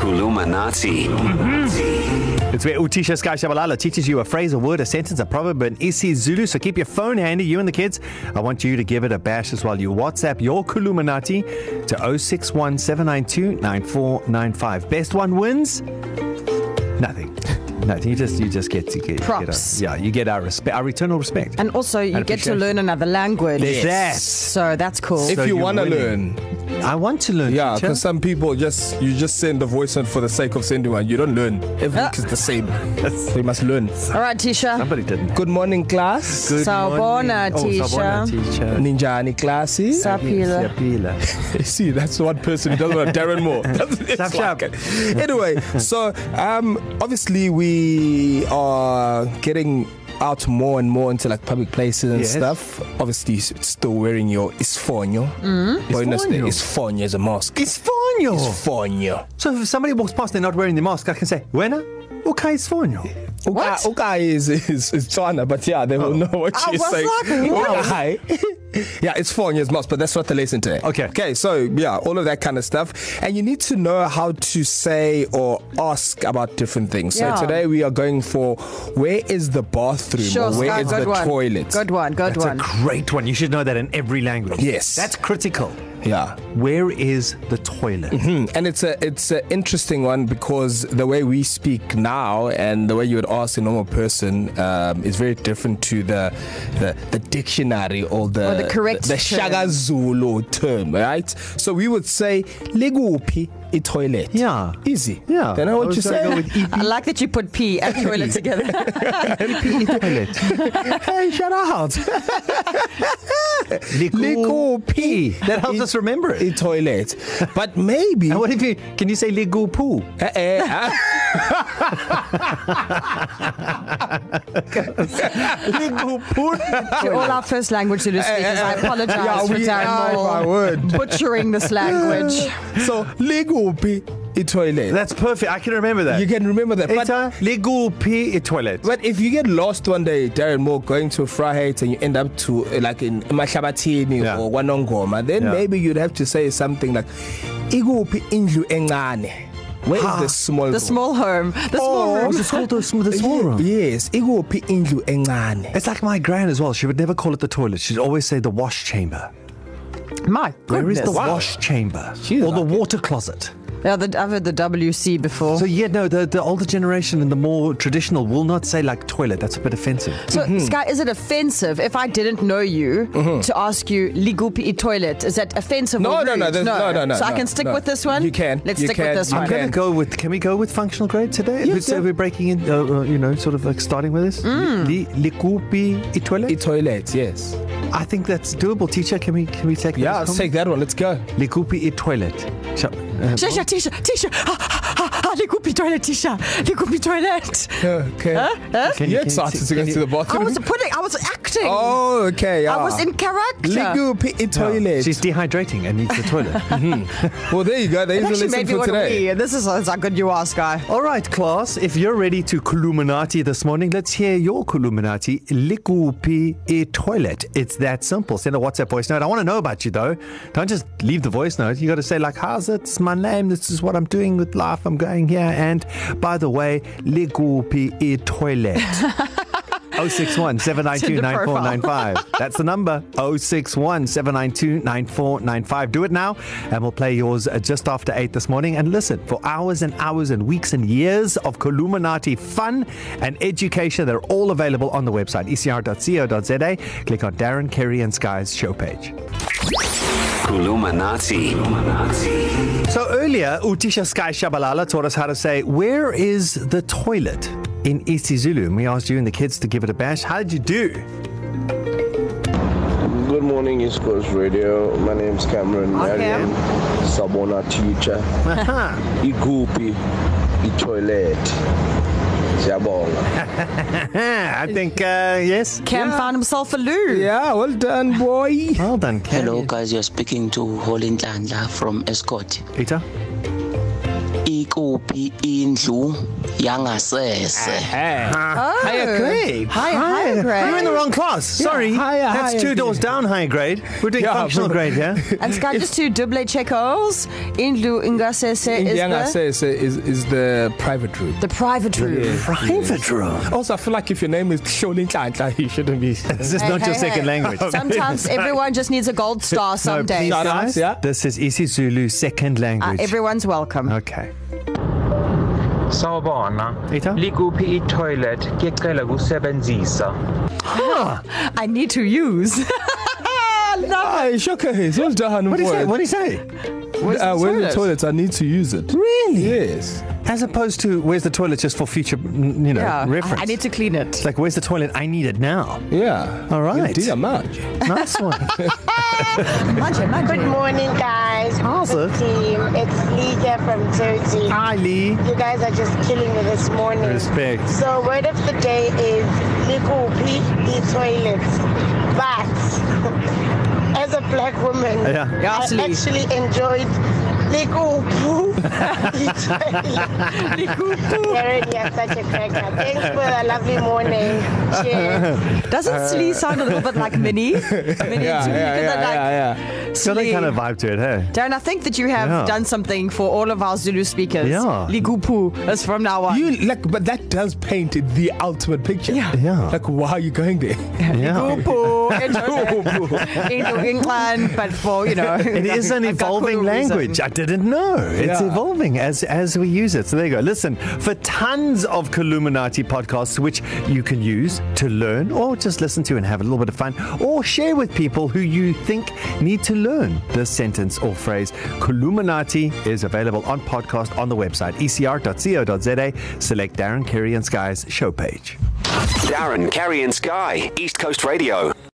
Kulumanati. It's where Utisha Sky Shabalala teaches you a phrase, a word, a sentence, a proverb, an isiZulu. So keep your phone handy, you and the kids. I want you to give it a bash as well. You WhatsApp your Kuluminati to 0617929495. Best one wins. Nothing. Nothing. You just you just get to get Props. Get our, yeah, you get our respect, our eternal respect. And also, you And get to appreciation. learn another language. There's that. So that's cool. So If you you're want to winning. learn, I want to learn. yeah, teacher. because some people just you just send a voice note for the sake of sending one. You don't learn. Every Ah. week is the same. So you must learn. All right, Tisha. somebody didn't. Good morning, class. Good Sawubona, morning. Oh, sawubona, teacher. Ninjani classy. Sapila. Siapila. See, that's one person who doesn't want Darren Moore. That's the next Snapchat. one. Anyway, so um, obviously we are getting out more and more into like public places and Yes. yes. stuff. Obviously, s- still wearing your isfonio. Mm-hmm. Bonus day, Isfonyo. Oh. isfonio is a mask. It's Fonyo. Isfonio. So if somebody walks past, they're not wearing the mask. I can say, "Wena, okay, it's fine." What? Uka, uka is, is, is Tswana, but yeah, they will oh. know what Ah, she's what's saying. happening? What? Hi. yeah, it's four years most, but that's not the lesson today. Okay. Okay, so yeah, all of that kind of stuff. And you need to know how to say or ask about different things. Yeah. So today we are going for where is the bathroom Sure, or where Scott, is good the one. toilet? Good one, good That's one. a great one. You should know that in every language. Yes. that's critical. Yeah. Where is the toilet? Mm-hmm. Mm, And it's a it's an interesting one because the way we speak now and the way you would ask a normal person um, is very different to the the, the dictionary or the Or the correct the, the term. Shagazulu term, right? So we would say legupi i toilet. Yeah. easy. Yeah. you know I what was you gonna say. go with e- I like that you put P and toilet together. toilet. hey, shout out. Likupi. That helps us remember I it. toilet. But maybe. And what if you can you say ligupu? Eh, eh, ah. Ligupu. to all our first language Zulu speakers, I apologize Yeah, for we- Darren I- I Moore would. butchering this language. so legupi i toilet. That's perfect. I can remember that. You can remember that. But, Eta ligupi toilet. but if you get lost one day, Darren Moore, going to Frahate and you end up to uh, like in Mahlabatini Yeah. yeah. or Wanongoma, then Yeah. yeah. maybe you'd have to say something like, Igupi indlu engane. Where is the small The room? small home. The small Oh, room. it's called the, sm- the small room. Yes, Igupi indlu engane. It's like my gran as well. She would never call it the toilet. She'd always say the wash chamber. My goodness. Where is the Wow. wash chamber? She's or the like it. water closet? Yeah, the, I've heard the WC before. So So, yeah, no, the, the older generation and the more traditional will not say like toilet. That's a bit offensive. so mm-hmm. Sky, is it offensive if I didn't know you mm-hmm. to ask you ligupi i toilet? Is that offensive? No, or no, rude? no, there's- no, no, no, So I no, can stick no. with this one. You can, Let's you stick with can, this you one. I'm going can. to go with. Can we go with functional grade today? Yeah, Yes, so yeah. Mm. we're breaking in. Uh, uh, you know, sort of like starting with this. Li, likupi i I toilet. toilet, yes. I think that's doable. Teacher, can we can we take Yeah, that? let's take that one. Let's go. likupi i e toilet. Sh- uh, Tisha, Tisha, Tisha. Ha, ha, ha, ha, ligupi toilet, Tisha. Ligupi toilet. Okay. Huh? Can Huh? you- You're can you- excited to go can you- to the I bathroom. was putting, I was acting. Oh, okay. Yeah. I was in Oh, character. Ligupi i toilet. She's dehydrating and needs the toilet. Well, there you go. There It is a actually lesson made me for want to today. wee. This is that's how good you are, Sky. All right, class, if you're ready to Kuluminati this morning, let's hear your Kuluminati Likupi e toilet. It's that simple. Send a WhatsApp voice note. I want to know about you, though. Don't just leave the voice note. You got to say, like, how's it? It's my name. This is what I'm doing with life. I'm going here. And by the way, Likupi e toilet. 061 792 9495. That's the number 061 792 9495. Do it now, and we'll play yours uh, just after 8 this morning. And listen for hours and hours and weeks and years of Columinati fun and education. They're all available on the website E ecr.co.za. Click on Darren, Kerry, and Sky's show page. Kulumanati. So earlier, Utisha Sky Shabalala taught us how to say, Where is the toilet? in isiZulu. And we asked you and the kids to give it a bash. How did you do? Good morning, East Coast Radio. My name's Cameron Hi, Marion. Sabona teacher. Igupi. The toilet. Siyabonga. Yeah, I think, uh, yes. Cam yeah. found himself a loo. Yeah, well done, boy. Well done, Ken. Hello, guys. You're speaking to Holintandla from Escort. Peter. ikuphi indlu yangasese Oh. Higher grade. Higher- higher grade. You're in the wrong class. Sorry. higher- That's higher two grade. doors down higher grade. We're doing Yeah, functional bro. grade, yeah? And Sky, just to double check holes, Indlu Ingasese is Indiana the, says uh, is is the private room. the private room. Private room. Also, I feel like if your name is Shoni Tlanka, you shouldn't be. This is Hey, not your hey, second hey. language. Sometimes everyone just needs a gold star Uh, some days. Shout out, yeah? This is isiZulu second Uh, language. everyone's welcome. okay. Sawubona. Ita? Likuphi i-toilet? Ngicela kusebenzisa. I need to use. Ah, shocker. So it's Jahan. What do you say? What do you say? Uh, where's the toilet? I need to use it. Really? Yes. As opposed to where's the toilet just for future, n- you know, Yeah, reference. I, I need to clean it. It's like where's the toilet? I need it now. Yeah. All right. Indeed, I'm out. Nice one. Imagine, Good imagine. morning, guys. Awesome. Team, it's Lee here from Jersey. Ali. You guys are just killing me this morning. Respect. So, word of the day is Likupi the toilet. But as a black woman, Yeah. Yeah, I absolutely. actually enjoyed Likupu the toilet. Karen, you're such a cracker. Thanks for a lovely morning. Cheers. Uh, Doesn't Slee sound a little bit like Minnie? Minnie too, because Yeah, yeah, they're like, yeah, yeah, It's got that Slee. kind of vibe to it, hey? Darren, I think that you have Yeah. done something for all of our Zulu speakers. Yeah. Ligupu is from now yeah. on. You like, but that does paint the ultimate picture. Yeah. Yeah. Like, why are you going there? Yeah. Ligupu into England, but for, you know. It is an evolving language. I didn't know. It's Yeah. evolving as as we use it. So there you go. Listen, for tons of Columinati podcasts, which you can use to learn or just listen to and have a little bit of fun, or share with people who you think need to learn this sentence or phrase. Columinati is available on podcast on the website, E ecr.co.za. Select Darren Kerry and Sky's show page. Darren, Carrie, and Sky, East Coast Radio.